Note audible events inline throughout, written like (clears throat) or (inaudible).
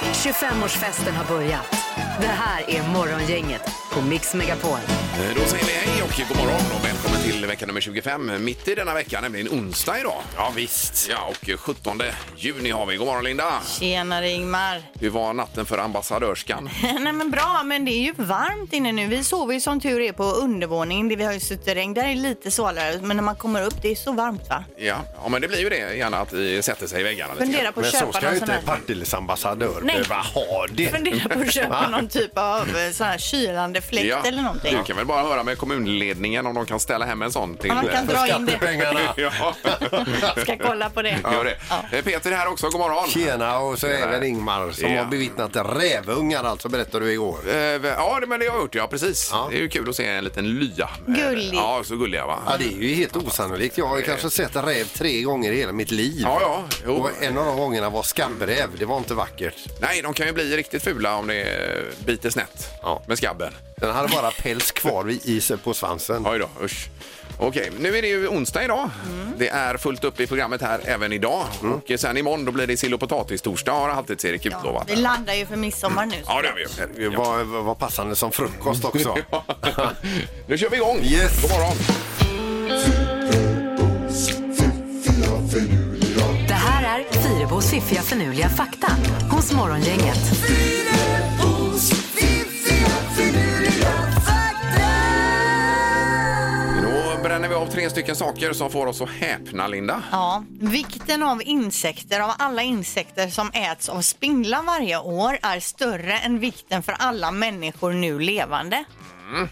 25-årsfesten har börjat. Det här är Morgongänget på Mix Megapol. Eh, Då säger vi hej och god morgon och välkommen till vecka nummer 25. Mitt i denna vecka, nämligen onsdag idag. Ja visst. Ja, och 17 juni har vi. God morgon Linda! Tjenare Ingmar. (laughs) Hur var natten för ambassadörskan? Nej men bra, men det är ju varmt inne nu. Vi sover ju som tur är på undervåningen. Det vi har ju suterräng. Där är det lite svalare, men när man kommer upp det är så varmt va? Ja, ja men det blir ju det gärna att vi sätter sig i väggarna lite grann. Fundera på Men att så köpa ska någon ju sån inte här... (laughs) Partille ambassadör Nej. behöva ha det. Fundera på att köpa någon typ av eh, sån här kylande fläkt Ja, eller någonting. Du kan väl bara höra med kommunledningen om de kan ställa hem en sån till... Ja, man kan eh, dra in det. Skattepengarna. (laughs) Ja, Ska kolla på (laughs) det. gör det. Eh, Peter är här också, god morgon. Tjena och så även Ingmar som Ja. har bevittnat rävungar alltså berättade du igår. Eh, Ja, det- men det har jag gjort, ja precis. Ja. Det är ju kul att se en liten lya. Gullig. Ja, så gulliga va. Ja det är ju helt osannolikt. Jag har ju kanske sett en räv tre gånger i hela mitt liv. Ja, ja. Jo. Och en av de gångerna var skabbräv. Det var inte vackert. Nej, de kan ju bli riktigt fula om det eh, biter snett Ja. med skabben. Den hade bara päls kvar vid isen på svansen. Oj då, usch. Okej, nu är det ju onsdag idag. Det är fullt upp i programmet här även idag. Och eh, sen imorgon då blir det sill och potatis-torsdag har alltid Erik utlovat. Vi landar ju för midsommar nu. Ja, det har vi Det ju. Ja. var, var passande som frukost också. (laughs) (laughs) nu kör vi igång! Yes. God morgon! Det här är Fyrabos fiffiga förnuliga fakta hos Morgongänget. Då bränner vi av tre stycken saker som får oss att häpna, Linda. Ja, vikten av insekter, av alla insekter som äts av spindlar varje år är större än vikten för alla människor nu levande. Mm.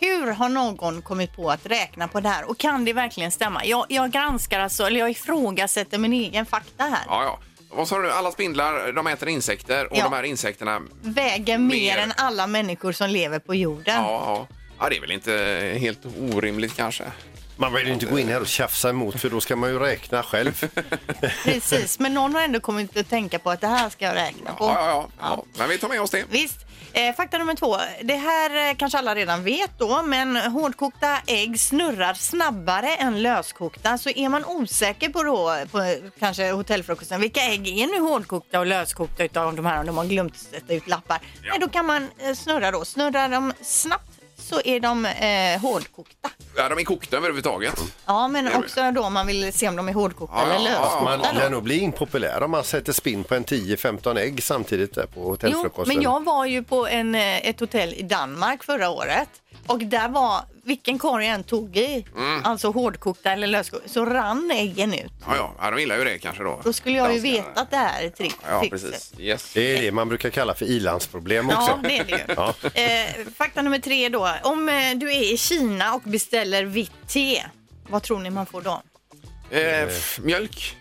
Hur har någon kommit på att räkna på det här och kan det verkligen stämma? Jag, jag granskar alltså, eller jag ifrågasätter min egen fakta här. Ja, ja. Vad sa du? Alla spindlar, de äter insekter och Ja. de här insekterna... Väger mer Mer. än alla människor som lever på jorden. Ja, ja. ja, det är väl inte helt orimligt kanske. Man vill ju inte gå in här och tjafsa emot för då ska man ju räkna själv. Precis, men någon har ändå kommit att tänka på att det här ska jag räkna på. Ja, ja, ja. ja. Men vi tar med oss det. Visst. Eh, fakta nummer två. Det här eh, kanske alla redan vet då, men hårdkokta ägg snurrar snabbare än löskokta. Så är man osäker på då, på eh, kanske hotellfrukosten, vilka ägg är nu hårdkokta och löskokta utav de här om de har glömt sätta ut lappar? Ja. Men då kan man eh, snurra då. Snurrar de snabbt så är de eh, hårdkokta. Ja, de är kokta överhuvudtaget. Ja, men är väl- också då om man vill se om de är hårdkokta Ja, eller ja, ja, löskokta. ja. Man då. lär nog bli impopulär om man sätter spinn på en 10-15 ägg samtidigt där på Jo, hotellfrukosten. men jag var ju på en, eh, ett hotell i Danmark förra året och där var, vilken korg jag än tog i, Mm. alltså hårdkokta eller löskokta, så rann äggen ut. Ja, ja. ja, de gillar ju det kanske då. Då skulle jag ju Danskarna. vetat det här trick, Ja, trixet. precis. Yes. Det är det man brukar kalla för ilandsproblem också. Ja, det är det (laughs) ju. Ja. Eh, fakta nummer tre då. Om eh, du är i Kina och beställer vitt te, vad tror ni man får då? Eh, f- mjölk?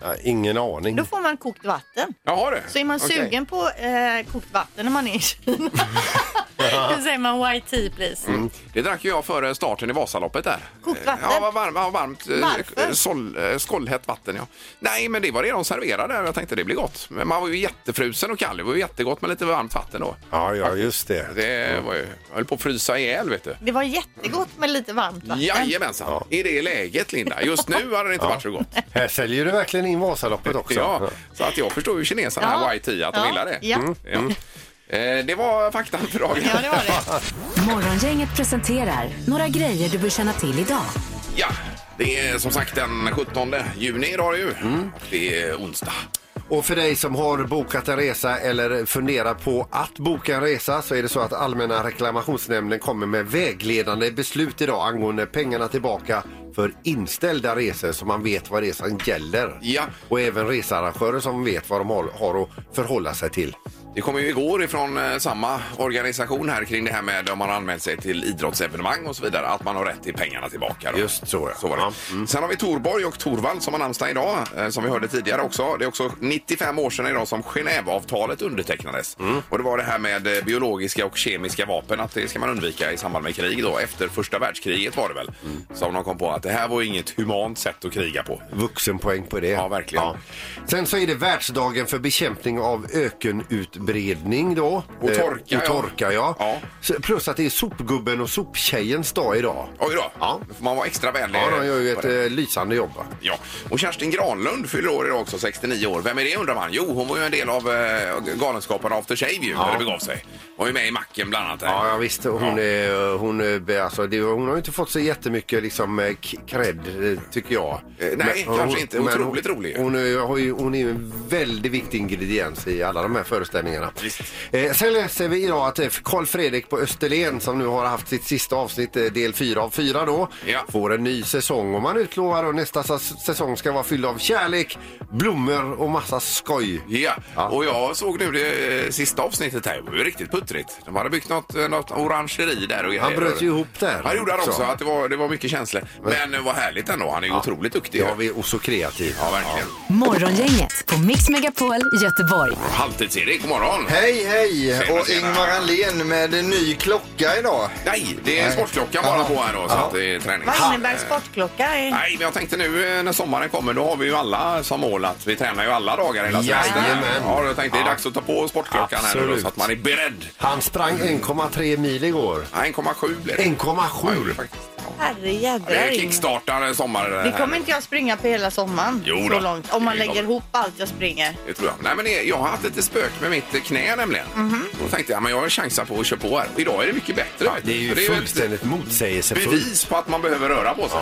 Ja, ingen aning. Då får man kokt vatten. Jaha du. Så är man Okej. sugen på eh, kokt vatten när man är (laughs) i Kina, (laughs) då säger man white tea please. Det drack ju jag före starten i Vasaloppet där. Eh, Kokt vatten? Ja, vad varm, vad varmt. eh, Varför? Sol, eh, skållhett vatten, ja. Nej, men det var det de serverade. Jag tänkte det blir gott. Men man var ju jättefrusen och kall. Det var ju jättegott med lite varmt vatten då. Ja, ja, just det. Det var ju... Jag höll på att frysa ihjäl, vet du. Det var jättegott med lite varmt vatten. Jajamensan. I det läget, Linda. Just nu hade det inte varit så gott. Här säljer du verkligen in Vasaloppet också. Ja, så att jag förstår ju kineserna här, Ja. YT, att de Ja. gillar det. Ja. Mm. Ja. Eh, Det var faktan för dagen. Ja, det var det. Morgongänget presenterar några grejer du bör känna till idag. Ja, det är som sagt den 17 juni idag ju. Och det är onsdag. Och för dig som har bokat en resa eller funderar på att boka en resa så är det så att Allmänna reklamationsnämnden kommer med vägledande beslut idag angående pengarna tillbaka för inställda resor så man vet vad resan gäller. Ja. Och även researrangörer som vet vad de har, har att förhålla sig till. Det kom ju igår ifrån eh, samma organisation här kring det här med om man har anmält sig till idrottsevenemang och så vidare, att man har rätt till pengarna tillbaka. Då. Just så, ja. så var det. Ja, mm. Sen har vi Torborg och Torvald som har namnsdag idag, eh, som vi hörde tidigare också. Det är också 95 år sedan idag som Genèveavtalet undertecknades. Mm. Och det var det här med eh, biologiska och kemiska vapen, att det ska man undvika i samband med krig då. Efter första världskriget var det väl, Mm. som de kom på att det här var ju inget humant sätt att kriga på. Vuxenpoäng på det. Ja, verkligen. Sen så är det världsdagen för bekämpning av ökenutbredning utbredning då. Och Eh, torka, och ja. torka ja. Ja. Så- Plus att det är sopgubben och soptjejens dag idag. Oj då. Ja. Då får man vara extra vänlig. Ja, de gör ju ett eh, lysande jobb. va? Ja, och Kerstin Granlund fyller år idag också, 69 år. Vem är det undrar man? Jo, hon var ju en del av eh, Galenskaparna After Shave ju, när det begav sig. Var ju med i Macken bland annat. Ja, ja visst. Hon, Ja. Är, hon, är, alltså, det, hon har ju inte fått så jättemycket liksom, eh, k- cred, eh, tycker jag. Eh, nej, kanske inte. Otroligt hon, rolig ju. Hon, är- har ju- hon är ju en väldigt viktig ingrediens i alla de här föreställningarna. Visst. Eh, sen läser vi idag att eh, Carl Fredrik på Österlen som nu har haft sitt sista avsnitt, eh, del 4 av 4 då, Ja. får en ny säsong. Och man utlovar att nästa sas- säsong ska vara fylld av kärlek, blommor och massa skoj. Ja. Ja. och jag såg nu det eh, sista avsnittet här. Det var ju riktigt puttrigt. De hade byggt något, eh, något orangeri där och Han grejer. bröt ju ihop där. Han gjorde han också. Så. Att det, var, det var mycket känslor. Men eh, vad härligt ändå. Han är ju otroligt duktig. Ja, vi, och så kreativ. ja verkligen. Morgongänget på Mix Megapol Göteborg. Halvtids-Erik, god morgon. Hej, hej! Tjena, och tjena. Ingmar Ahlén med en ny klocka idag. Nej, det är Nej. sportklockan bara Ja. på här då. Så att det är träning. Vad innebär sportklocka? i- Nej, men jag tänkte nu eh, när sommaren kommer, då har vi ju alla som mål att vi tränar ju alla dagar hela semestern. Jajamän. Ja, jag tänkte det är dags att ta på sportklockan här nu då, Absolut. så att man är beredd. Han sprang Mm. 1,3 mil igår. Ja, 1,7 blir det. Ja, det Ja, gjorde det 1,7. faktiskt. Ja. Herre Det jädrar. är eh, Ingmar. kickstartar sommaren. Det kommer inte jag springa på hela sommaren. Jo då. så långt. Om man Det lägger kommer. ihop allt jag springer. Det tror jag. Nej, men det- jag har haft lite spök med mitt knä nämligen. Då tänkte jag, men jag chansar på att köra på här. Och Idag är det mycket bättre. vet du. Det är ju För ett fullständigt motsägelsefullt. bevis på att man behöver röra på sig.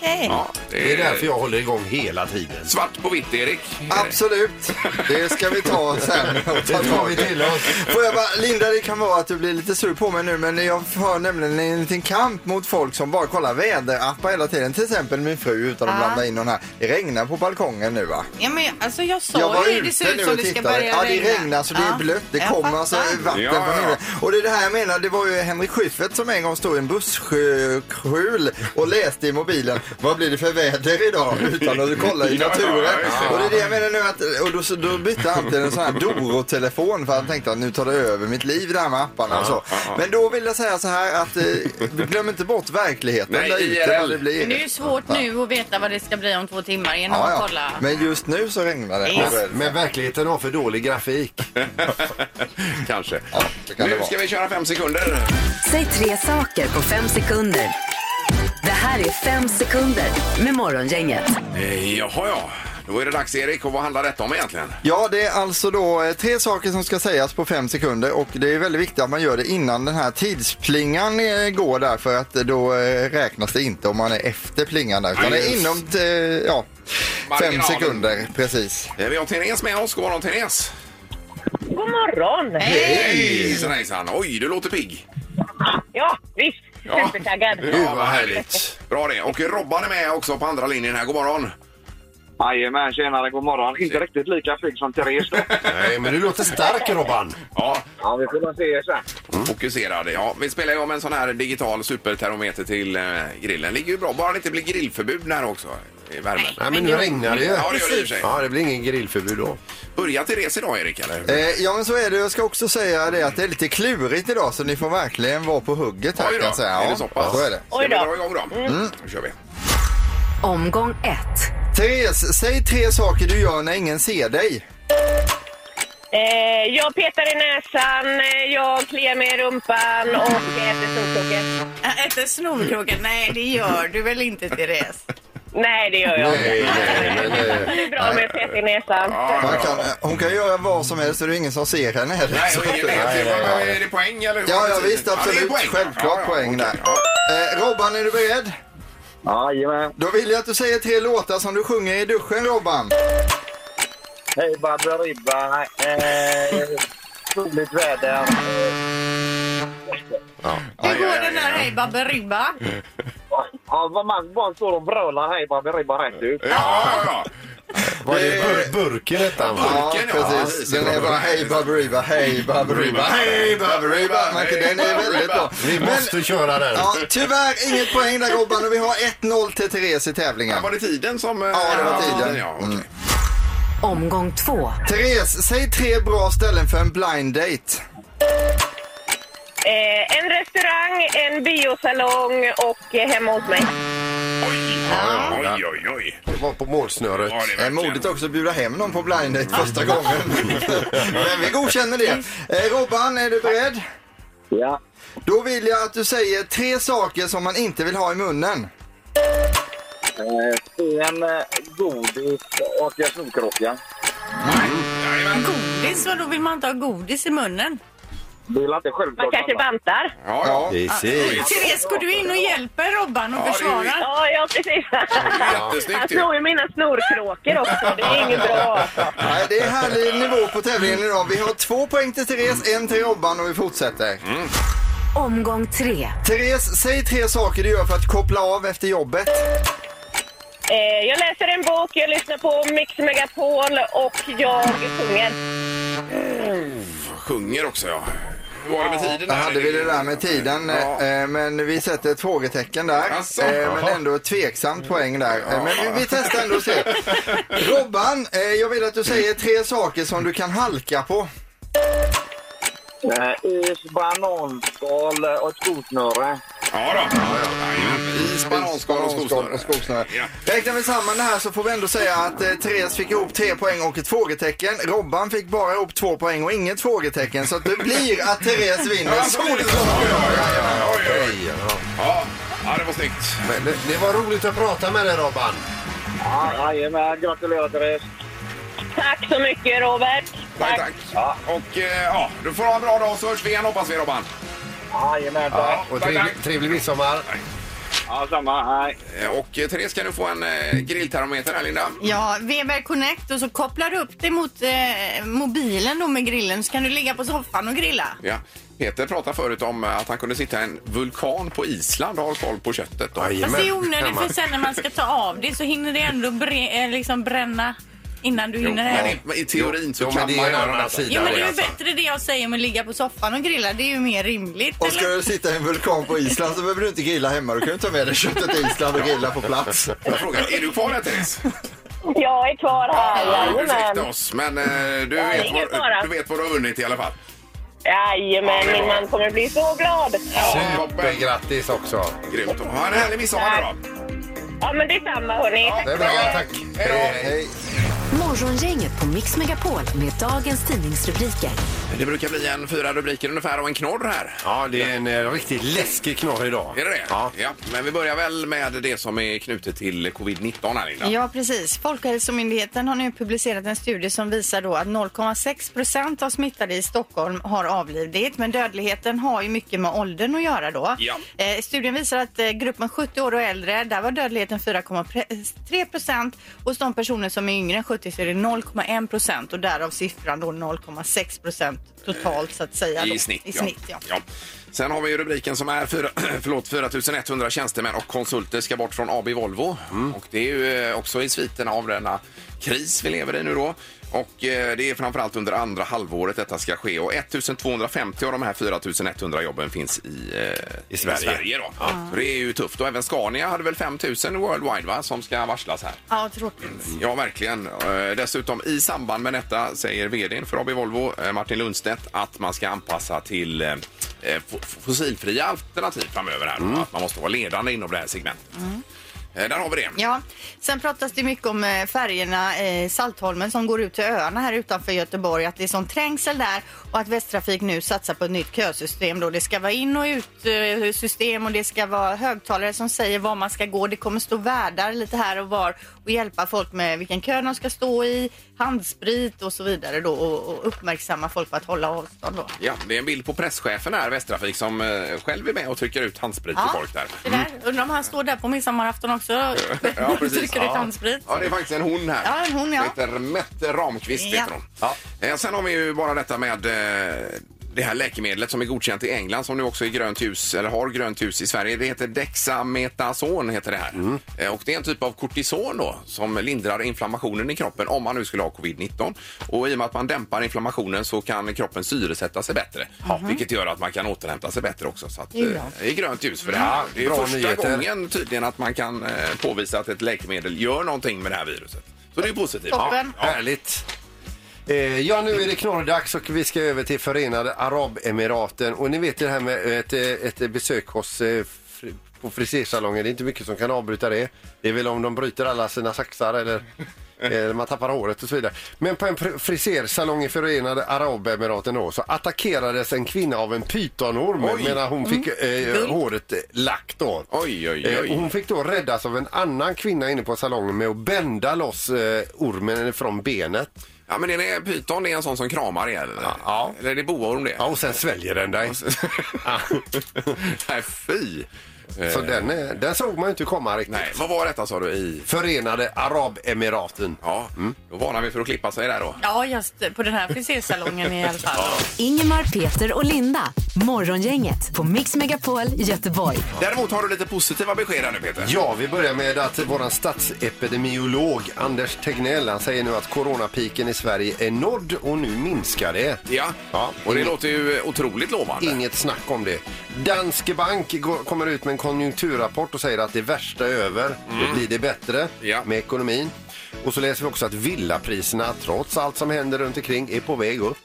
Okej. Ja, eh, Det är därför jag håller igång hela tiden. Svart på vitt, Erik. Absolut, det ska vi ta sen. Och ta tar tag vi i. till oss. Får jag bara, Linda, det kan vara att du blir lite sur på mig nu, men jag har nämligen en liten kamp mot folk som bara kollar väderappar hela tiden. Till exempel min fru, utan att Ah. blanda in någon här. Det regnar på balkongen nu va? Ja, men, jag- alltså, jag sa jag var ju det. ute Det ser ut nu som och det ska tittade. börja Ja, regna. det regnar så det Ja. är blött. Det Jag kommer fattar. alltså vatten Ja, från ja. himlen. Och det är det här jag menar. Det var ju Henrik Schyffert som en gång stod i en busskjul och läste i mobilen. Vad blir det för väder idag? Utan att kolla i Ja, naturen. ja, just det. Och det är det jag menar nu att, och då, då bytte han till en sån här Doro-telefon för han tänkte att nu tar det över mitt liv det här med apparna och så. Men då vill jag säga så här att eh, glöm inte bort verkligheten Nej, där ute. IRL. vad Det blir. Men det är ju svårt nu att veta vad det ska bli om två timmar genom Ja, att ja. kolla. Men just nu så regnar det. Yes. Men verkligheten har för dålig grafik. (laughs) Kanske. Ja, det kan det nu vara. ska vi köra fem sekunder. Säg tre saker på fem sekunder. Det här är fem sekunder med Morgongänget. Eh, Jaha, ja. Då är det dags, Erik. Och vad handlar detta om egentligen? Ja, det är alltså då eh, tre saker som ska sägas på fem sekunder och det är väldigt viktigt att man gör det innan den här tidsplingan eh, går där för att eh, då eh, räknas det inte om man är efter plingan där utan det är just. inom eh, ja, fem Marginalen. sekunder precis. Eh, Vi har Therese med oss. God morgon, Therese. God morgon! Hej! Hejsan, hejsan. Oj, du låter pigg. Ja, visst. Supertaggad. Ja, vad härligt. Bra det. Och Robban är med också på andra linjen här. God morgon. Jajamän, tjenare, god morgon. Inte riktigt lika pigg som Therese då. Nej, men du låter stark Robban. Ja, (laughs) Ja, vi får väl se sen. Mm. fokuserad. Ja, vi spelar ju om en sån här digital supertermometer till eh, grillen. Ligger ju bra. Bara det inte blir grillförbud här också i värmen. Nej, men nu regnar det ju. Ja, det gör det i och för sig. Ja, det blir ingen grillförbud då. Börjar Therese idag, Erik? Eller? Eh, ja men så är det, jag ska också säga det att det är lite klurigt idag så ni får verkligen vara på hugget här Oj kan då, jag säga. är Ja, det så pass? så är det. Ska vi dra igång då? Mm. Då kör vi. Omgång ett. Therese, säg tre saker du gör när ingen ser dig. Eh, jag petar i näsan, eh, jag kliar mig i rumpan och jag äter storkoket. Jag äter snorkråkan. Nej, det gör du väl inte, Therese? Nej, det gör jag inte. Nej, nej, men, eh, Det är bra med att peta i näsan. Ja, Man ja, kan, eh, ja. hon kan göra vad som helst och det är ingen som ser henne heller. Nej, och ingen vet ju. Vad- vad- Är det poäng eller? Ja, vad är ja det? visst Ja, det är absolut. poäng. Självklart Ja, ja, poäng okej, där. ja. Eh, Robban, är du beredd? Jajamän. Då vill jag att du säger tre låtar som du sjunger i duschen, Robban. Hej Badaribba. Eh, soligt väder. Hur går den där Hej Baberiba? Ja, vad man bara står och brölar hej Badaribba rätt ut. Ja, ja, Var det bur burken detta va? Ja, Burken, ja. precis. Den är bara Hej Baberiba, Hej Baberiba, Hej, Hej Baberiba, Baberiba. Man kan- Den är Hej, väldigt bra. Vi Men, måste köra den. ja, tyvärr inget poäng där Robban och vi har 1-0 till Therese i ja. tävlingen. Var det tiden som... eh, Ja, det var tiden. Mm. Ja, okej. Omgång två. Therese, säg tre bra ställen för en blind date. Eh, en restaurang, en biosalong och eh, hemma hos mig. Oj! Ja, ja. Oj, oj, oj. Det var på målsnöret. Ja, det är Eh, verkligen- Modigt också att bjuda hem någon på blind date första gången. Men vi godkänner det. Eh, Robban, är du beredd? Ja. Då vill jag att du säger tre saker som man inte vill ha i munnen. Eh, Sten, eh, godis och en snorkrocka. Jajamän. Godis, vadå vill man inte ha godis i munnen? Det är inte Man självklart. kanske alla. bantar. Ja, ja. Precis. Therese, går du in och hjälper Robban och det är försvarar? Ja, ja precis. Jättesnyggt Han ju. snor ju mina snorkråkor också. Det är inget bra. Nej, det är härlig nivå på tävlingen idag. Vi har två poäng till Therese, en till Robban och vi fortsätter. Omgång tre. Therese, säg tre saker du gör för att koppla av efter jobbet. Eh, jag läser en bok, jag lyssnar på Mix Megapol och jag sjunger. Sjunger också, ja. Hur var det med tiden? Där där? hade vi det där med tiden, Ja. eh, men vi sätter ett frågetecken där. Asså? Eh, Men ändå ett tveksamt poäng där. Eh, Men vi, vi testar ändå och ser. (laughs) Robban, eh, jag vill att du säger tre saker som du kan halka på. Eh, Is, bananskal eh, och ett skosnöre. Ja, då. Ja, ja. Jajamän. Is, bananskal och Bananskal och skosnöre. skosnöre. Ja. Räknar vi samman det här så får vi ändå säga att eh, Therese fick ihop tre poäng och ett frågetecken. Robban fick bara ihop två poäng och inget frågetecken. Så att det blir att Therese vinner. Solklart! Oj, oj, oj. Ja. Ja, ja, det var snyggt. Men det, det var roligt att prata med dig Robban. Ja, Jajamän, gratulerar Therese. Tack så mycket Robert. Tack, tack. Och eh, ja, du får ha en bra dag så hörs vi igen hoppas vi, Robban. Jajamän, tack. Och Tack, trevlig, tack. trevlig midsommar. Ja, samma. Hej. Eh, Och eh, Therese, kan du få en eh, grilltermometer här, Linda? Ja, Weber Connect och så kopplar du upp det mot eh, mobilen då med grillen så kan du ligga på soffan och grilla. Ja. Peter pratade förut om eh, att han kunde sitta i en vulkan på Island och ha koll på köttet. Då. Jajamän. Fast det är kan onödigt man. för sen när man ska ta av det så hinner det ändå bre- eh, liksom bränna innan du Jo, hinner men hem. i, men i teorin så Jo, kan men det man är en göra annan det. sida. Jo men det är ju alltså. bättre det jag säger om att ligga på soffan och grilla. Det är ju mer rimligt. Och ska eller? du sitta i en vulkan på Island så behöver du inte grilla hemma. Du kan ju ta med dig köttet till Island och grilla på plats. Jag frågar, är du kvar där Therese? Jag är kvar här, du fick jajamän. oss, men eh, du, vet ingen vad, fara. du vet vad du har vunnit i alla Typ fall. Jajamän, min man kommer bli så glad. Supergrattis också. Grymt. Ha en härlig midsommar nu då. Ja men detsamma hörni. Det är bra, tack. Hej då. Hej. Morgongänget på Mix Megapol med dagens tidningsrubriker. Det brukar bli en fyra rubriker ungefär och en knorr här. Ja, det är en eh, riktigt läskig knorr idag. Är det det? Ja. Men vi börjar väl med det som är knutet till covid-19 här Linda. Ja, precis. Folkhälsomyndigheten har nu publicerat en studie som visar då att 0,6 procent av smittade i Stockholm har avlidit. Men dödligheten har ju mycket med åldern att göra då. Ja. Eh, studien visar att eh, gruppen 70 år och äldre, där var dödligheten 4,3 procent. Hos de personer som är yngre än 70 så är det 0,1 procent och därav siffran då 0,6 procent totalt så att säga. då. I snitt, I snitt ja. Ja. Sen har vi ju rubriken som är fyra, (clears throat) förlåt, 4100 tjänstemän och konsulter ska bort från AB Volvo. Och det är ju eh, också i sviten av denna kris vi lever i nu då. Och eh, det är framförallt under andra halvåret detta ska ske. Och 1250 av de här 4100 jobben finns i, eh, I Sverige. då. Så det är ju tufft. Och även Scania hade väl 5000 worldwide va, som ska varslas här. Ja, tråkigt. Ja, verkligen. Eh, Dessutom i samband med detta säger vdn för AB Volvo, eh, Martin Lundstedt, att man ska anpassa till eh, eh, fo- fossilfria alternativ framöver. Här. Mm. Att man måste vara ledande inom det här segmentet. Eh, Där har vi det. Ja, sen pratas det mycket om eh, färjorna eh, Saltholmen som går ut till öarna här utanför Göteborg. Att det är sån trängsel där och att Västtrafik nu satsar på ett nytt kösystem. Då. Det ska vara in och ut eh, system och det ska vara högtalare som säger var man ska gå. Det kommer stå värdar lite här och var och hjälpa folk med vilken kö de ska stå i, handsprit och så vidare då och, och uppmärksamma folk på att hålla avstånd då. Ja, det är en bild på presschefen här, Västtrafik, som eh, själv är med och trycker ut handsprit till folk där. det där. Undrar om han står där på midsommarafton (laughs) också (laughs) Ja, och precis. trycker ut handsprit. Ja, det är faktiskt en hon här. Ja, en hon, ja. Heter Mette Ramqvist Ja. heter hon. Eh, Sen har vi ju bara detta med eh, det här läkemedlet som är godkänt i England som nu också är grönt ljus, eller har grönt ljus i Sverige. Det heter Dexametasol heter det här. Mm. Eh, Och det är en typ av kortison då som lindrar inflammationen i kroppen om man nu skulle ha covid-19. Och i och med att man dämpar inflammationen så kan kroppen syresätta sig bättre. Vilket gör att man kan återhämta sig bättre också. Så att, Mhm. är eh, bra. det är grönt ljus för det här. Det är Bra första nyheter. gången igen tydligen att man kan eh, påvisa att ett läkemedel gör någonting med det här viruset. Så det är ju positivt. Toppen. Ja. Härligt. Eh, Ja, nu är det knorrdags och vi ska över till Förenade Arabemiraten. Och ni vet det här med ett, eh, ett besök hos eh, fr- på frisersalongen. Det är inte mycket som kan avbryta det. Det är väl om de bryter alla sina saxar (laughs) eller eller man tappar håret och så vidare. Men på en fr- frisersalong i Förenade Arabemiraten då, så attackerades en kvinna av en pytonorm Oj. medan hon fick eh, håret eh, lackt. Då. Oj, oj, Eh, oj. Hon fick då räddas av en annan kvinna inne på salongen med att bända loss eh, ormen från benet. Ja, men är det pyton det är en sån som kramar igen? Eller, Ja. eller är det boaorm det? Ja, och sen sväljer den dig. (laughs) Ja. (laughs) Nej, fy! Så den, eh, den såg man ju inte komma riktigt. Nej, vad var detta sa du i... Förenade Arabemiraten. Ja, Mm. då varnar vi för att klippa sig där då. Ja, just på den här frisersalongen i alla fall. Ingemar, Peter och Linda. Morgongänget på Mix Megapol Göteborg. Däremot har du lite positiva besked här nu Peter. Ja, vi börjar med att vår statsepidemiolog Anders Tegnell han säger nu att coronapiken i Sverige är nådd och nu minskar det. Ja, Ja, och det inget- låter ju otroligt lovande. Inget snack om det. Danske Bank går- kommer ut med en konjunkturrapport och säger att det värsta är över. Då blir det bättre Ja. med ekonomin. Och så läser vi också att villapriserna, trots allt som händer runt omkring, är på väg upp.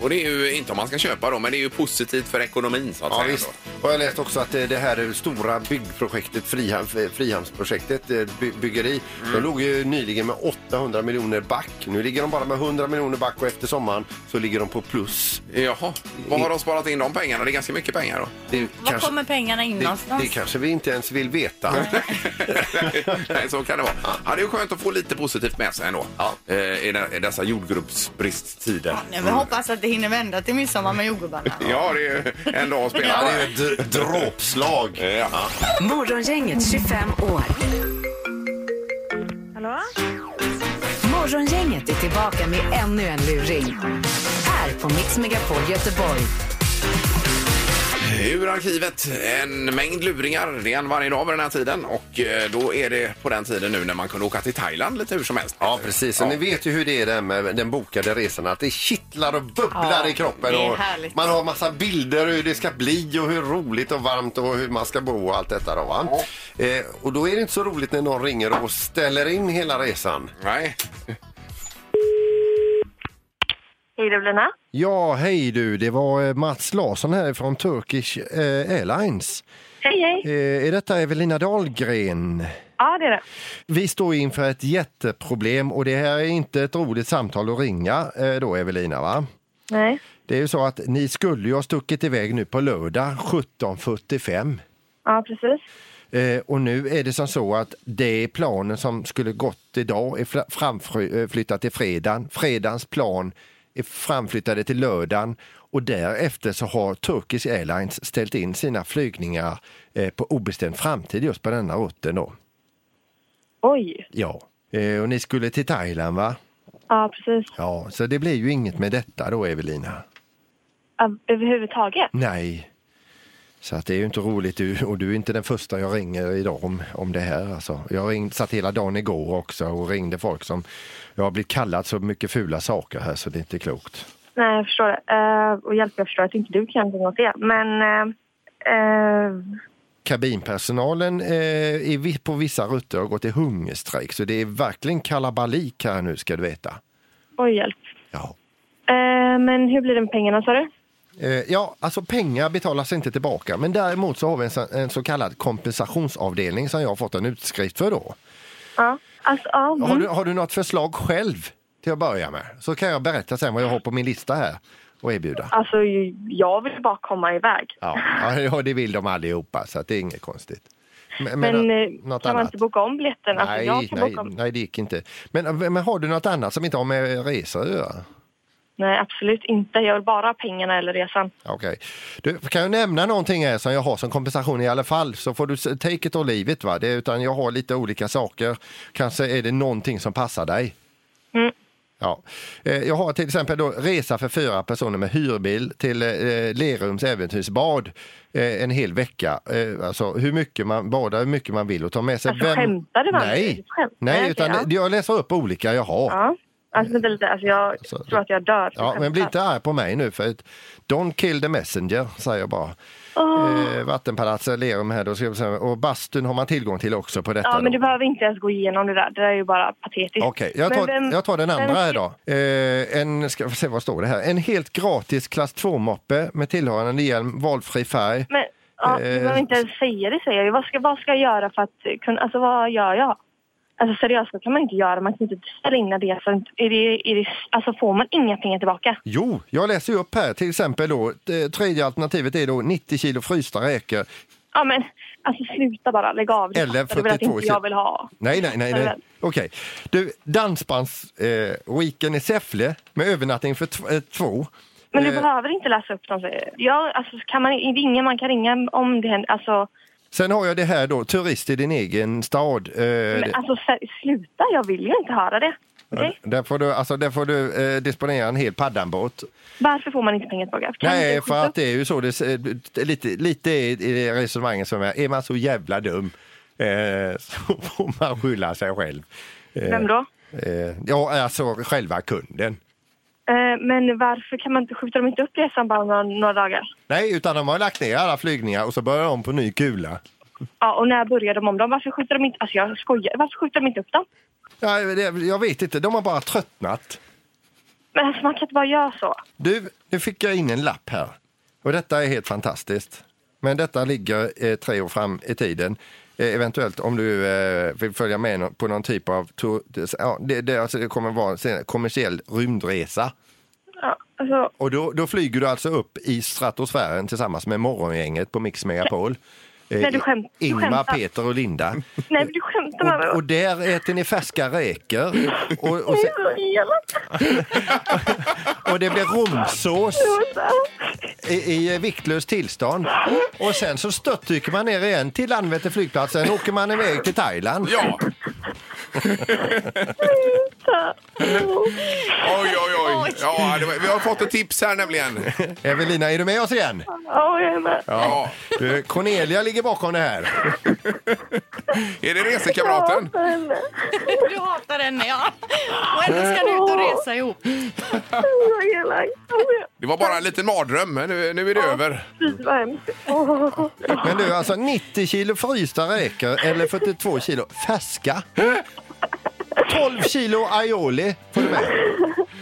Och det är ju inte om man ska köpa då, men det är ju positivt för ekonomin så att Ja, säga. visst. då. Och jag läste också att eh, det här stora byggprojektet, Friham, Frihamnsprojektet, eh, by, byggeri, de låg ju nyligen med 800 miljoner back. Nu ligger de bara med 100 miljoner back och efter sommaren så ligger de på plus. Jaha, vad har de sparat in de pengarna? Det är ganska mycket pengar då. Det, Var kommer pengarna in det, någonstans? det kanske vi inte ens vill veta. (laughs) (laughs) Nej, så kan det vara. Ja, det är ju skönt att få lite positivt med sig ändå Ja. eh, i, de, i dessa jordgubbsbristtider. Nej, men hoppas att det hinner vända till midsommar med jordgubbarna. Ja, det är ju en dag att spela. Det är ju ett dr- dråpslag. Eh, Ja. Morgongänget 25 år. Hallå? Morgongänget är tillbaka med ännu en luring. Här på Mix Megapol Göteborg. Ur arkivet, en mängd luringar. Det är en varje dag vid den här tiden. Och eh, då är det på den tiden nu när man kunde åka till Thailand lite hur som helst. Ja, precis. Och ni vet ju hur det är där med den bokade resan. Att det kittlar och bubblar Ja, i kroppen. det är Och härligt. man har massa bilder hur det ska bli och hur roligt och varmt och hur man ska bo och allt detta. Då, va? Eh, och då är det inte så roligt när någon ringer och ställer in hela resan. Nej. Hej, det är Lina. Ja, hej du. Det var eh, Mats Larsson här från Turkish eh, Airlines. Eh, Hej, hej. är detta Evelina Dahlgren? Ja, det är det. Vi står inför ett jätteproblem och det här är inte ett roligt samtal att ringa eh, då, Evelina, va? Nej. Det är ju så att ni skulle ju ha stuckit iväg nu på lördag 17.45. Ja, precis. Eh, och nu är det som så att det planen som skulle gått idag är fla- framfry- eh, flyttat till fredagen. Fredagens plan är framflyttade till lördagen och därefter så har Turkish Airlines ställt in sina flygningar eh, på obestämd framtid just på denna rutten då. Oj. Ja, eh, och ni skulle till Thailand va? Ja, precis. Ja, så det blir ju inget med detta då Evelina. Ja, överhuvudtaget. Nej. Så att det är ju inte roligt du, och du är inte den första jag ringer idag om, om det här. Alltså. Jag ringde, satt hela dagen igår också och ringde folk som... Jag har blivit kallad så mycket fula saker här så det är inte klokt. Nej, jag förstår det. Eh, och hjälp, jag förstår att inte du kan något åt det. Men... eh, eh, Kabinpersonalen eh, i, vi- på vissa rutter har gått i hungerstrejk så det är verkligen kalabalik här nu ska du veta. oj, hjälp. Ja. Eh, men hur blir det med pengarna, sa du? Eh, Ja, alltså pengar betalas inte tillbaka men däremot så har vi en, så- en så kallad kompensationsavdelning som jag har fått en utskrift för då. Ja. Alltså, ja. mm. Har, du, har du något förslag själv till att börja med? Så kan jag berätta sen vad jag har på min lista här och erbjuda. alltså, jag vill bara komma iväg. Ja, ja (laughs) det vill de allihopa så att det är inget konstigt. Men, Men, nå- eh, kan man inte boka om biljetten? Alltså, nej, jag kan nej, boka om. nej, det gick inte. Men, men har du något annat som inte har med resor att göra? Nej, absolut inte. Jag vill bara ha pengarna eller resan. Okej. Du, kan jag nämna någonting här som jag har som kompensation i alla fall så får du s- take it or leave it. Va? Det, är- utan jag har lite olika saker. Kanske är det någonting som passar dig. Mm. Ja. Eh, Jag har till exempel då resa för fyra personer med hyrbil till eh, Lerums äventyrsbad eh, en hel vecka. Eh, Alltså hur mycket man badar, hur mycket man vill och ta med sig... Alltså, skämtar du med mig? Det är Nej, ett skämt. Nej Nej, utan okej, ja. det- jag läser upp olika jag har. Ja. Alltså, vänta lite. Alltså, jag Alltså, tror att jag dör. Ja, men bli inte arg på mig nu för att don't kill the messenger, säger jag bara. Eh, vattenpalatset, Lerum här då, ska vi säga. och bastun har man tillgång till också på detta. Ja, men då. du behöver inte ens gå igenom det där. Det där är ju bara patetiskt. Okej, jag, Men tar, vem- jag tar den andra vem- här då. Eh, en, ska vi se vad står det här? En helt gratis klass 2-moppe med tillhörande hjälm, valfri färg. Men, Ja, Eh, du behöver inte ens säga det, säger jag ju. vad ska, vad ska jag göra för att kunna... Alltså, vad gör jag? Alltså seriöst, det kan man inte göra. Man kan inte ställa in när det är för är det, är det, Alltså får man inga pengar tillbaka? Jo, jag läser ju upp här till exempel då. eh, Tredje alternativet är då 90 kilo frysta räkor. Ja men, alltså sluta bara. Lägg av. Du Eller fattar väl att 42 inte jag vill ha. Nej, nej, nej. nej. Eller- Okej. Du, dansbandsweekend eh, weekend i Säffle med övernattning för tv- eh, två. Men du Eh, behöver inte läsa upp dem. säger jag. Ja, alltså kan man det är ingen man kan ringa om det händer. Alltså, Sen har jag det här då, turist i din egen stad. Eh, det- men, alltså ser- sluta. Jag vill ju inte höra det. Okej? Där får du, alltså, där får du eh, disponera en hel paddanbåt. Varför får man inte pengar tillbaka? Kan du Nej, inte för skjuta att det är ju så, det, är- det är lite, lite i i resonemanget som är, är man så jävla dum eh, (laughs) så får man skylla sig själv. upp? Vem då? Eh, ja, alltså själva kunden. Eh, Men varför kan man inte skjuta dem inte upp resan bara några, några dagar? Nej, utan de har lagt ner alla flygningar och så börjar de på ny kula. Ja, och när börjar de om dem? Varför skjuter de inte... Alltså jag skojar. Varför skjuter de inte upp dem? Ja, det, jag vet inte, de har bara tröttnat. Men alltså man kan inte bara göra så. Du, nu fick jag in en lapp här. Och detta är helt fantastiskt. Men detta ligger eh, tre år fram i tiden. Eh, eventuellt om du eh, vill följa med nå- på någon typ av... Tour, ja, det, det, alltså, det kommer vara en sen- kommersiell rymdresa. Ja, alltså, Och då, då flyger du alltså upp i stratosfären tillsammans med morgongänget på Mix Megapol. Eh, Nej, du skämt- du Ingmar, skämtar. Peter (laughs) och Linda. nej men du skämtar med mig. Och, och där äter ni färska räkor. Och, och, Det sen, är så elakt. och det blir romsås. Det var så här. i, i viktlöst tillstånd. Och sen så störtdyker man ner igen till Landvetter flygplats. Sen åker man iväg till Thailand. (laughs) Ja! Oj, oj, oj. Ja, det var, vi har fått ett tips här nämligen. Evelina, är du med oss igen? Ja, jag är med. Ja. Du, Cornelia ligger bakom det här. Är det resekamraten? Jag är med. (laughs) Du hatar henne, ja. Och ändå ska ni ut och resa ihop. Det var elakt. Alltså, jag- Det var bara en liten mardröm, men nu, nu är det över. Fy vad hemskt. Åh. Men du, alltså 90 kilo frysta räkor eller 42 kilo färska. 12 kilo aioli får du med.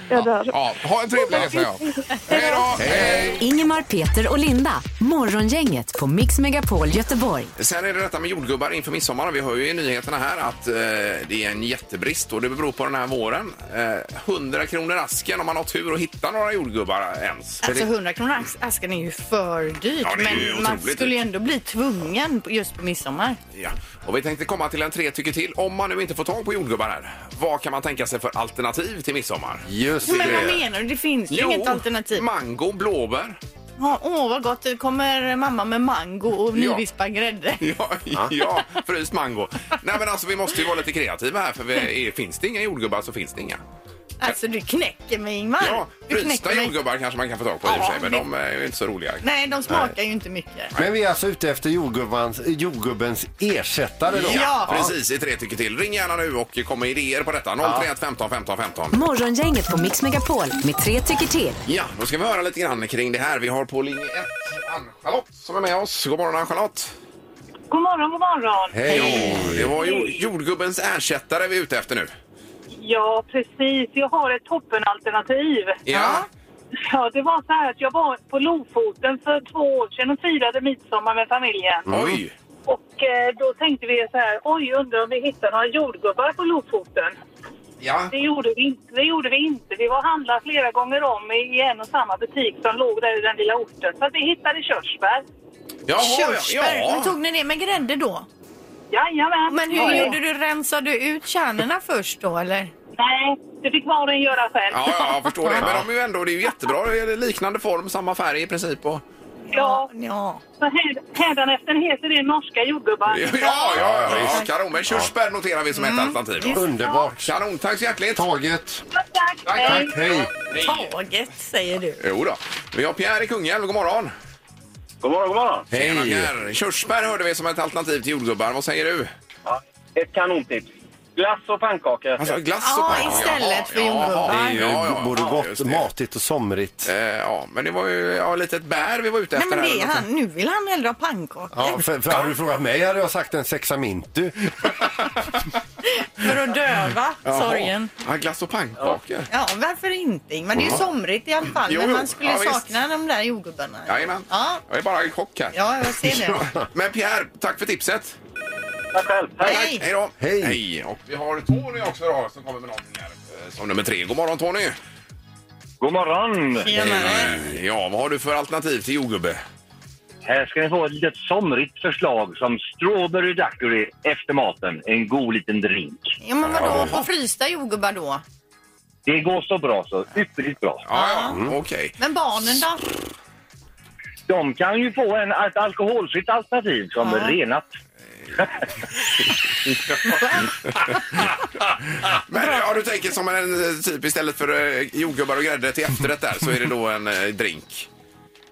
Jag dör. Ja, ha en trevlig resa. Ja. Hej då! Hej! Ingemar, Peter och Linda. Morgongänget på Mix Megapol Göteborg. Sen är det detta med jordgubbar inför midsommar. Vi hör ju i nyheterna här att eh, det är en jättebrist och det beror på den här våren. Eh, 100 kronor asken om man har tur och hittar några jordgubbar ens. För Alltså det, 100 kronor as- asken är ju för dyrt. Ja, det är ju men man otroligt skulle ju dyrt. ändå bli tvungen på- just på midsommar. ja. Och vi tänkte komma till en tre tycker till. Om man nu inte får tag på jordgubbar här, vad kan man tänka sig för alternativ till midsommar? Just Men vad menar du? Det finns ju inget alternativ. mango, blåbär. Ja, Åh, vad gott. Det kommer mamma med mango och nyvispad grädde. Ja, (laughs) ja, fryst mango. Nej men alltså vi måste ju vara lite kreativa här för vi är, finns det inga jordgubbar så finns det inga. Alltså, du knäcker mig, Ingmar. Ja, du frysta knäcker mig. jordgubbar kanske man kan få tag på i och för sig men de är ju inte så roliga. Nej, de smakar ju inte mycket. Men vi är alltså ute efter jordgubbans, jordgubbens ersättare då? Ja, Ja. precis. I tre tycker till. Ring gärna nu och kom med idéer på detta. 031 15 15 15. Morgongänget på Mix Megapol med tre tycker till. Ja, då ska vi höra lite grann kring det här. Vi har på linje 1 Ann-Charlotte som är med oss. God morgon Ann-Charlotte! God morgon, god morgon. Hej! Det var jord, jordgubbens ersättare vi är ute efter nu. Ja, precis. Jag har ett toppenalternativ. Ja. Ja, det var så här att jag var på Lofoten för två år sedan och firade midsommar med familjen. Mm. Oj! Och eh, då tänkte vi så här, oj, undrar om vi hittar några jordgubbar på Lofoten. Ja. Det gjorde vi inte. Det gjorde vi, inte. vi var och handlade flera gånger om i i en och samma butik som låg där i den lilla orten. Så att vi hittade körsbär. Jaha, ja, Körsbär. Men ja. tog ni det med grädde då? Jajamän. Men hur Ja, ja. gjorde du? Rensade du ut kärnorna först då, eller? Nej, det fick var och en göra själv. Ja, ja, jag förstår det. Men de är ju ändå, det är ju jättebra. Det är liknande form, samma färg i princip. Och... Ja. ja. Så häd- hädanefter heter det norska jordgubbar. Ja, ja, ja, ja. Kanon. Men körsbär noterar vi som ett Mm. alternativ. Underbart. Kanon, tack så hjärtligt! Taget. Tack, Tack, hej. tack. Hej. Hej. Taget, säger du. Jo då. Vi har Pierre i Kungälv. God morgon! God morgon, god morgon. Tjena, Pierre. Körsbär hörde vi som ett alternativ till jordgubbar. Vad säger du? Ja, ett kanontips. Glass och pannkakor. Alltså glass och Ja, pannkaka. istället för jordgubbar. Det är ju Ja, ja, både ja, gott, just det. matigt och somrigt. Eh, Ja, men det var ju ja, lite ett bär vi var ute Nej, efter. men här det eller är han. Nu vill han hellre ha pannkakor. Ja, för, för hade du frågat mig hade jag sagt en sexamintu. någonting. För att döva Jaha. sorgen. Ja, glass och pannkakor. Ja, varför inte? Men det är ju somrigt i alla fall. Jo, Men jo. man skulle Ja, visst. sakna de där jordgubbarna. Jajamän. Ja. Jag är bara i chock här. ja, jag ser det. (laughs) Men Pierre, tack för tipset. Tack själv. Hej. Hej! Hej då. Hej. Och vi har Tony också då som kommer med någonting här eh, som nummer tre. God morgon Tony! God morgon! Tjenare. Eh, Ja, vad har du för alternativ till jordgubbe? Här ska ni få ett litet somrigt förslag som strawberry daiquiri efter maten. En god liten drink. Ja, men vadå? På frysta jordgubbar då? Det går så bra så. Ypperligt bra. Ja, ja, mm, okej. Men barnen då? De kan ju få en, ett alkoholfritt alternativ som Ja. är renat. Men ja, du tänker som en eh, typ istället för eh, jordgubbar och grädde till efterrätt där så är det då en eh, drink.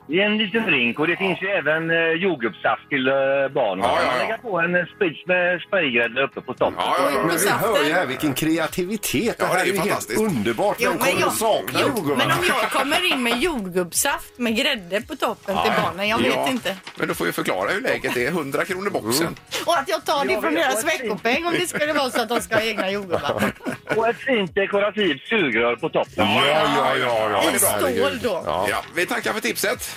Det är en liten drink och det finns ju även eh, jordgubbssaft till eh, barnen. Ja, ja, ja. Man lägger på en eh, sprits med spraygrädde uppe på toppen. Ja, ja, ja. Men vi hör ju här vilken kreativitet. Ja, det är ju helt fantastiskt. underbart. Jo, Vem men kommer jag- att sakna Jo, men jordgubbarna? om jag kommer in med jordgubbssaft med grädde på toppen till barnen, jag vet inte. Men då får vi förklara hur läget är. 100 kronor boxen. Och att jag tar det Jag från vet, deras vad fint. veckopeng om det skulle vara så att de ska ha egna jordgubbar. Och ett fint dekorativt sugrör på toppen. ja, ja. ja, det I är bra. stål då. Ja. vi tackar för tipset.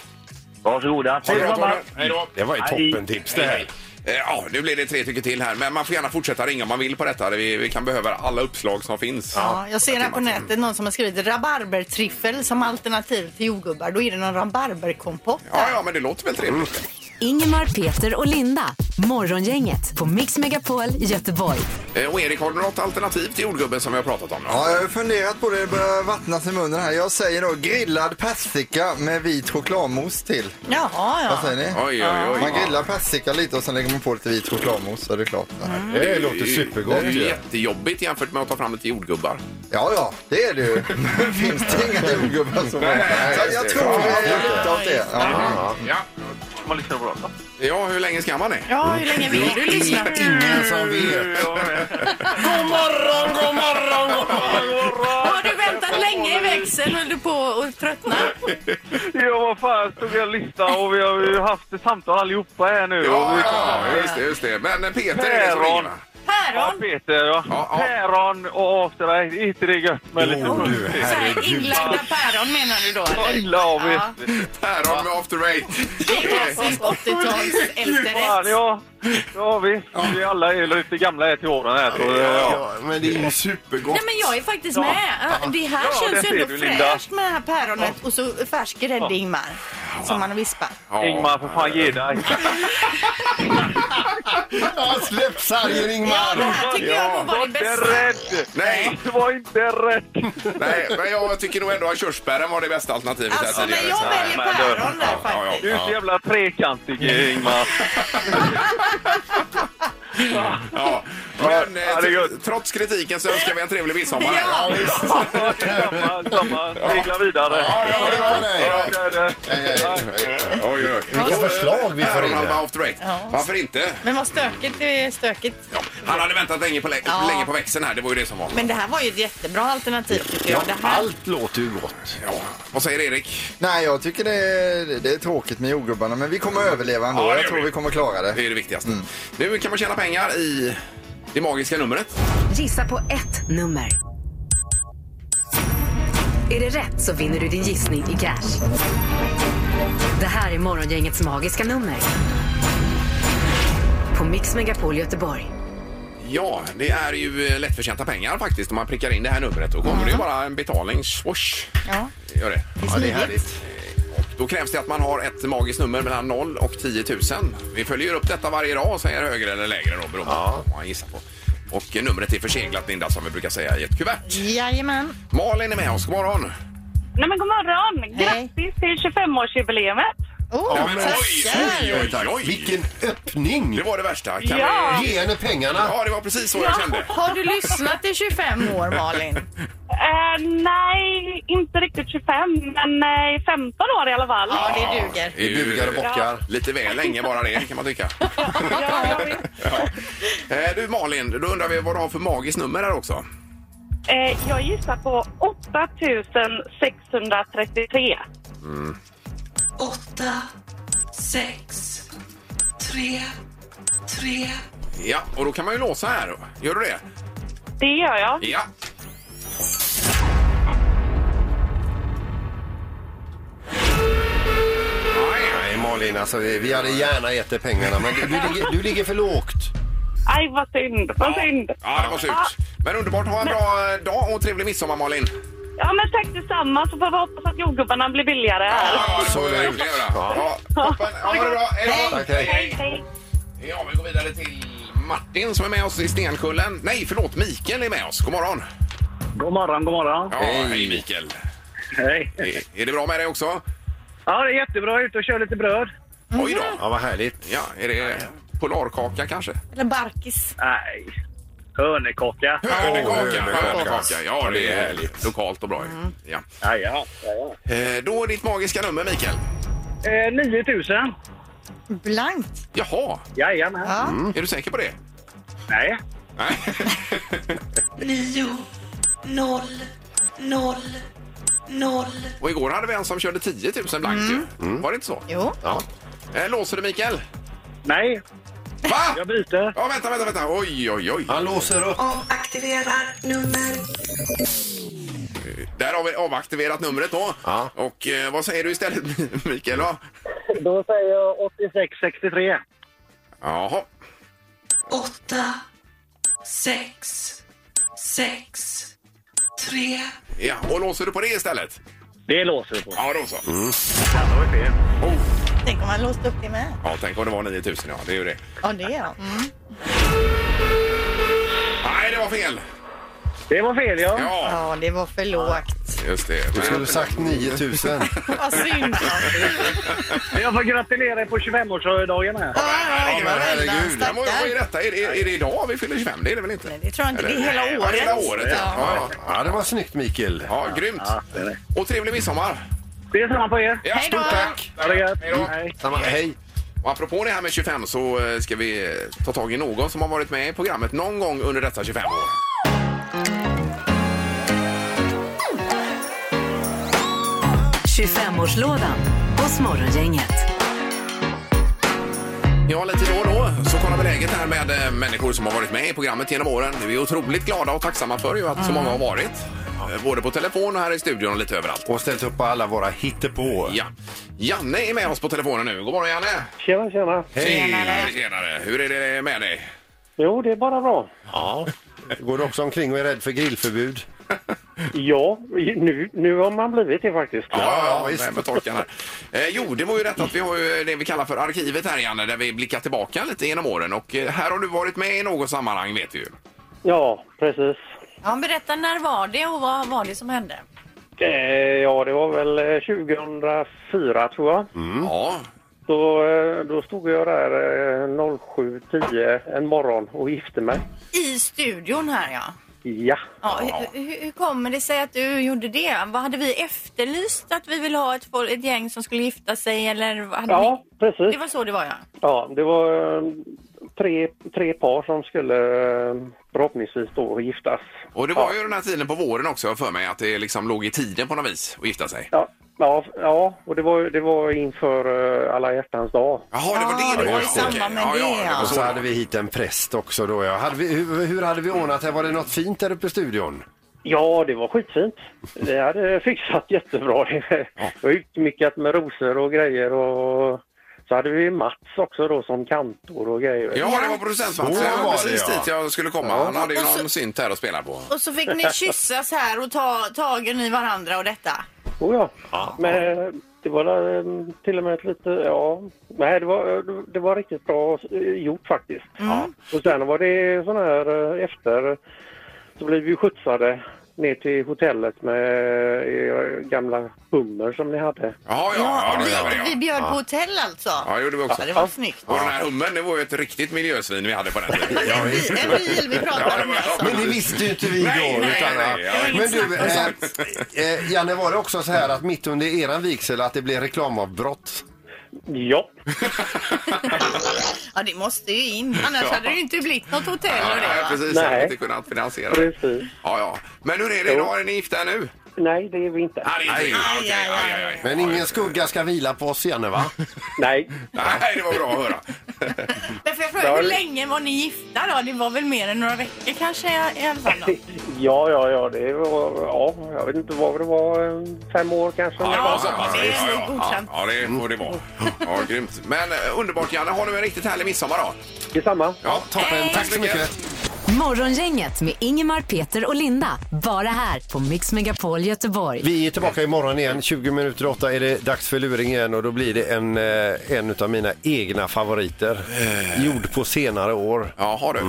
Varsågoda. Ha det bra, mamma. Tony. Hej då. Det var ju Hej. toppentips det här. Eh, Ja, nu blir det tre tycker till här. Men man får gärna fortsätta ringa om man vill på detta. Vi, vi kan behöva alla uppslag som finns. Ja, jag ser här på nätet någon som har skrivit rabarbertriffel som alternativ till jordgubbar. Då är det någon rabarberkompott. Ja, ja, men det låter väl trevligt. Ingemar, Peter och Linda. Morgongänget på Mix Megapol Göteborg. Eh, Och Erik, har du något alternativ till jordgubben som vi har pratat om? Då? Ja, jag har funderat på det. Det börjar vattnas i munnen här. Jag säger då grillad persika med vit chokladmousse till. Jaha, Vad ja. säger ni? Oj, oj, oj. Man grillar persika lite och sen lägger man på lite vit chokladmousse så är det klart. Mm. Det låter Det supergott. är ju ju. jättejobbigt jämfört med att ta fram lite jordgubbar. Ja, ja, det är det ju. (laughs) finns det inga jordgubbar som Nej, är... Så jag det- tror vi är lite av det. Ja. Ja. ja, hur länge ska man det? Ja, hur länge vill du lyssna? Ingen som vet. God morgon, god morgon, god morgon! Har du väntat länge i växeln? Höll du på att tröttna? Ja, vad fan, stod jag och lyssnade och vi har ju haft ett samtal allihopa här nu. och Ja, vi ja, just det, just det. Men eh, Peter är det som ringer, Päron. va? Ja, Päron! Peter, ja. Ja, ja. Päron och after eight, inte det gött med lite... Åh, du Så här herregud. Inlagda päron menar du då? Ja, eller? illa av er. Ja, Päron med after eight. det är klassiskt 80-tals Fan, efterrätt. ja. Ja, visst. Vi alla är lite gamla här till åren här. Så, ja. Ja, men det är ju supergott. Nej men jag är faktiskt med. Ja, Det här Ja, där känns ju ser ändå du, Linda. fräscht med det här päronet och så färsk grädde Ingmar. Som man vispar. Ja. Ingmar, för fan ge dig. Släpp sargen Ja, det Ingmar! här tycker jag nog var det Det är bästa. rätt! Nej, Det var inte rätt! nej, men jag tycker nog ändå att körsbären var det bästa alternativet. här Alltså tidigare, men jag så- väljer men du- päron där faktiskt. Du är så jävla trekantig, Ingmar. Ja. Men Ja, det är eh, gött. trots kritiken så önskar vi en trevlig midsommar. här. Ja. Ja, Detsamma, detsamma. Segla vidare. Ja, ja, ja, Ja, nej. det är det. Oj, oj. Vilka förslag vi får in Päron här. halva off direct. Ja. Varför inte? Men vad stökigt det är stökigt. Ja. Han hade väntat länge på, lä- Ja. länge på växeln här. Det var ju det som var. Men det här var ju ett jättebra alternativ tycker jag. Det här. Allt låter ju gott. Ja. Vad säger Erik? Nej, jag tycker det är, det är tråkigt med jordgubbarna, men vi kommer att överleva ändå. Ja, det jag gör tror vi. vi kommer att klara Det det. är det viktigaste. Mm. Nu kan man tjäna pengar i det magiska numret. Gissa på ett nummer. Är det rätt så vinner du din gissning i cash. Det här är Morgongängets magiska nummer. På Mix Megapol Göteborg. Ja, det är ju eh, lättförtjänta pengar faktiskt om man prickar in det här numret. Då kommer det ju bara en betalning. Swosh. Ja. Gör det. Ja, det är härligt. Då krävs det att man har ett magiskt nummer mellan 0 och 10 000. Vi följer upp detta varje dag och säger högre eller lägre då beroende på vad man gissar på. Och eh, numret är förseglat Linda som vi brukar säga i ett kuvert. Jajamän. Malin är med oss, god morgon! Nej men god morgon! Hej. Grattis till 25-årsjubileet! Oh, Ja, men oj, tackar. oj, oj, oj. Vilken öppning! Det var det värsta. Kan Ja. Vi... Ge henne pengarna! ja, det var precis så jag kände. Har du lyssnat i 25 år Malin? Eh, nej, inte riktigt 25, men eh, 15 år i alla fall. Ja det duger. är ju, bugar och bockar. eh, Lite väl länge bara det kan man tycka. Ja, jag vet. Eh, Du Malin, då undrar vi vad du har för magiskt nummer här också. Eh, jag gissar på 8633. 8, 6, 3, 3. Ja, och då kan man ju låsa här. Gör du det? Det gör jag. Ja. Nej, Malin, alltså, vi vi hade gärna gett dig pengarna, men du, du, ligger, du ligger för lågt. Aj, vad synd. Vad synd. Ja, det var surt. Ja. Men underbart. Ha en bra eh, dag och trevlig midsommar, Malin. Ja, men tack detsamma. Så får vi hoppas att jordgubbarna blir billigare här. Ja, så är det. Ja, toppen. Ha det bra. Hej då. Tack, hej. Hej. Ja, vi går vidare till Martin som är med oss i Stenkullen. Nej, förlåt, Mikael är med oss. God morgon. God morgon, god morgon. Ja, hej. Mikael. Hej. Är, är det bra med dig också? Ja, det är jättebra. Ut och kör lite bröd. Oj då. Ja, vad härligt. Ja, är det polarkaka kanske? Eller barkis. Nej. Hörnekaka. Hörnekaka. hörnekaka. Hörnekaka. Ja, det är härligt. Mm. Lokalt och bra. ju. Ja. Jajamän. jajamän. Eh, Då är ditt magiska nummer, Mikael. Eh, 9000. Blankt. Jaha, Jajamän. Ja. är du säker på det? Nej. Nej. (laughs) nio, noll, noll, noll. Och igår hade vi en som körde 10 000 blankt ju. Var det inte så? Jo. Eh, Låser du Mikael? Nej. Va? Jag byter. Ja, vänta, vänta, vänta. Oj, oj, oj. Han låser upp. Omaktiverar nummer Där har vi avaktiverat numret då. Ja. Och eh, vad säger du istället, (laughs) Mikael? Då? Då säger jag 8663. Jaha. åtta, sex, sex, tre. Ja, och låser du på det istället? Det låser du på. Ja, då så. det var fel. Tänk om man låste upp det med. Ja, tänk om det var 9000, ja. Det är ju det. Ja, det är de. Mm. Nej, det var fel! Det var fel, ja. Ja, Ja, det var för lågt. just det. Du skulle sagt 9000. Vad synd. Jag får gratulera er på 25-årsdagen här. Ja, men herregud. herregud. Ja, men vad är detta? Är det, är det idag vi fyller 25? Det är det väl inte? Nej, det tror jag inte. Det är hela Eller- Ja, året. Hela året, ja. Ja, ja. Ja, det var snyggt, Mikael. ja grymt. Och trevlig midsommar. Det är samma på er. Ja, Hej då. stort tack. Ha det gött. Mm. Hej då. Hej. Samma, hej. Och apropå det här med 25 så eh, ska vi eh, ta tag i någon som har varit med i programmet någon gång under dessa 25 år. Mm. 25-årslådan hos Morgongänget. Ja, lite då och då så kollar vi läget här med eh, människor som har varit med i programmet genom åren. Vi är otroligt glada och tacksamma för ju att så många har varit. Eh, Både på telefon och här i studion och lite överallt. Och ställt upp alla våra hittepå. Ja. Janne är med oss på telefonen nu. God morgon Janne! Tjena, tjena. Tjenare! Tjenare! Hur är det med dig? Jo, det är bara bra. Ja. Går du också omkring och är rädd för grillförbud? Ja, nu, nu har man blivit det faktiskt. Ja, ja, med torkan här. Eh, jo, det var ju rätt att vi har ju det vi kallar för arkivet här Janne, där vi blickar tillbaka lite genom åren. Och eh, här har du varit med i något sammanhang vet vi ju. Ja, precis. Ja, berätta, när var det och vad var det som hände? Eh, Ja, det var väl eh, 2004 tror jag. Ja, Då, eh, då stod jag där eh, 07.10 en morgon och gifte mig. I studion här, ja. Ja. ja hur, hur, hur kommer det sig att du gjorde det? Vad hade vi efterlyst att vi ville ha ett, fol- ett gäng som skulle gifta sig? Eller vad hade Ja, vi... Det precis. var så det var, ja. Ja, det var eh, tre, tre par som skulle eh, förhoppningsvis då giftas. och det var ju den här tiden på våren också jag har för mig att det liksom låg i tiden på något vis att gifta sig. Ja, ja, ja och det var, det var inför eh, alla hjärtans dag. Jaha, det var Ja, det det var i Okej. samband med ja, det, ja, ja. var Och så så hade vi hit en präst också då. Ja. Hade vi, hur, hur hade vi ordnat det? Var det något fint där uppe i studion? Ja, det var skitfint. Det hade fixat jättebra. Det var utmyckat med rosor och grejer och så hade vi Mats också då som kantor och grejer. Ja, det var producent Mats. Så Det var var precis det, ja. dit jag skulle komma. Han hade ju Och så- någon synt här att spela på. Och så fick ni kyssas här och ta tagen i varandra och detta. Oh, ja. Men det var där, eh, till och med ett lite, ja, nej det var, det var riktigt bra eh, gjort faktiskt. Och sen var det sån här eh, efter, så blev vi skjutsade ner till hotellet med eh, gamla hummer som ni hade. Jaha, ja, ja, det där var det, vi, vi ja. bjöd på hotell alltså. Ja, det gjorde vi också. det var snyggt. Och den här hummen, det var ju ett riktigt miljösvin vi hade på den tiden. En bil, en bil vi Ja, pratade det om var- alltså. Men det visste ju inte vi Nej, då. nej, utan, nej, ja. ja, Men du, eh, eh, Janne, var det också så här att mitt under eran vigsel att det blev reklamavbrott? Ja, Ja, det måste ju in. Annars hade det ju inte blivit något hotell och Nej, det. va? precis. Nej. Jag hade inte kunnat finansiera det. precis. Ja, ja. Men hur är det idag? Är ni gifta nu? Nej, det är vi inte. Nej, det är inte- Ah, okej. Aj, aj, aj. Men ingen skugga ska vila på oss igen va? Nej. Nej, det var bra att höra. Men får jag fråga, hur länge var ni gifta då? Det var väl mer än några veckor kanske i- i alla fall då? Ja, ja, ja. Det var, ja, jag vet inte vad det var. eh, Fem år kanske? Ja, det var så pass. det är nog ja, godkänt. ja, det får det vara. Ja, grymt. Men eh, underbart, Janne. Ha nu en riktigt härlig midsommar då. Detsamma. Ja, Toppen, tack så mycket. Morgongänget med Ingemar, Peter och Linda. Bara här på Mix Megapol Göteborg. Vi är tillbaka imorgon igen. 20 minuter åtta är det dags för luring igen och då blir det en, eh, en av mina egna favoriter. Eh. Gjord på senare år. Ja, har du.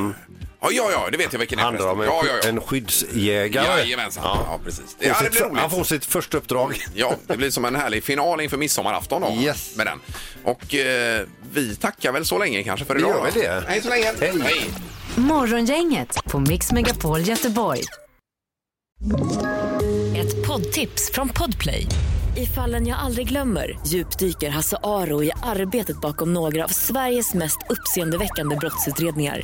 Ja, ja, ja, det vet jag vilken det är. Mm. Handlar om en, förresten. ja, ja, ja. en skyddsjägare. Jajamensan. Ja. precis. Det, ja, det blir Får sitt- Han får roligt. sitt första uppdrag. Ja, det blir som en härlig final inför midsommarafton då. Yes. Med den. Och eh, vi tackar väl så länge kanske för Vi idag. gör va? väl det. Hej så länge. Hej. Morgongänget på Mix Megapol Göteborg. Ett poddtips från Podplay. I fallen jag aldrig glömmer djupdyker Hasse Aro i arbetet bakom några av Sveriges mest uppseendeväckande brottsutredningar.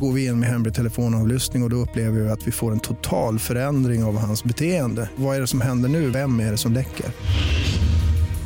Går vi in med hemlig telefonavlyssning och, och då upplever vi att vi får en total förändring av hans beteende. Vad är det som händer nu? Vem är det som läcker?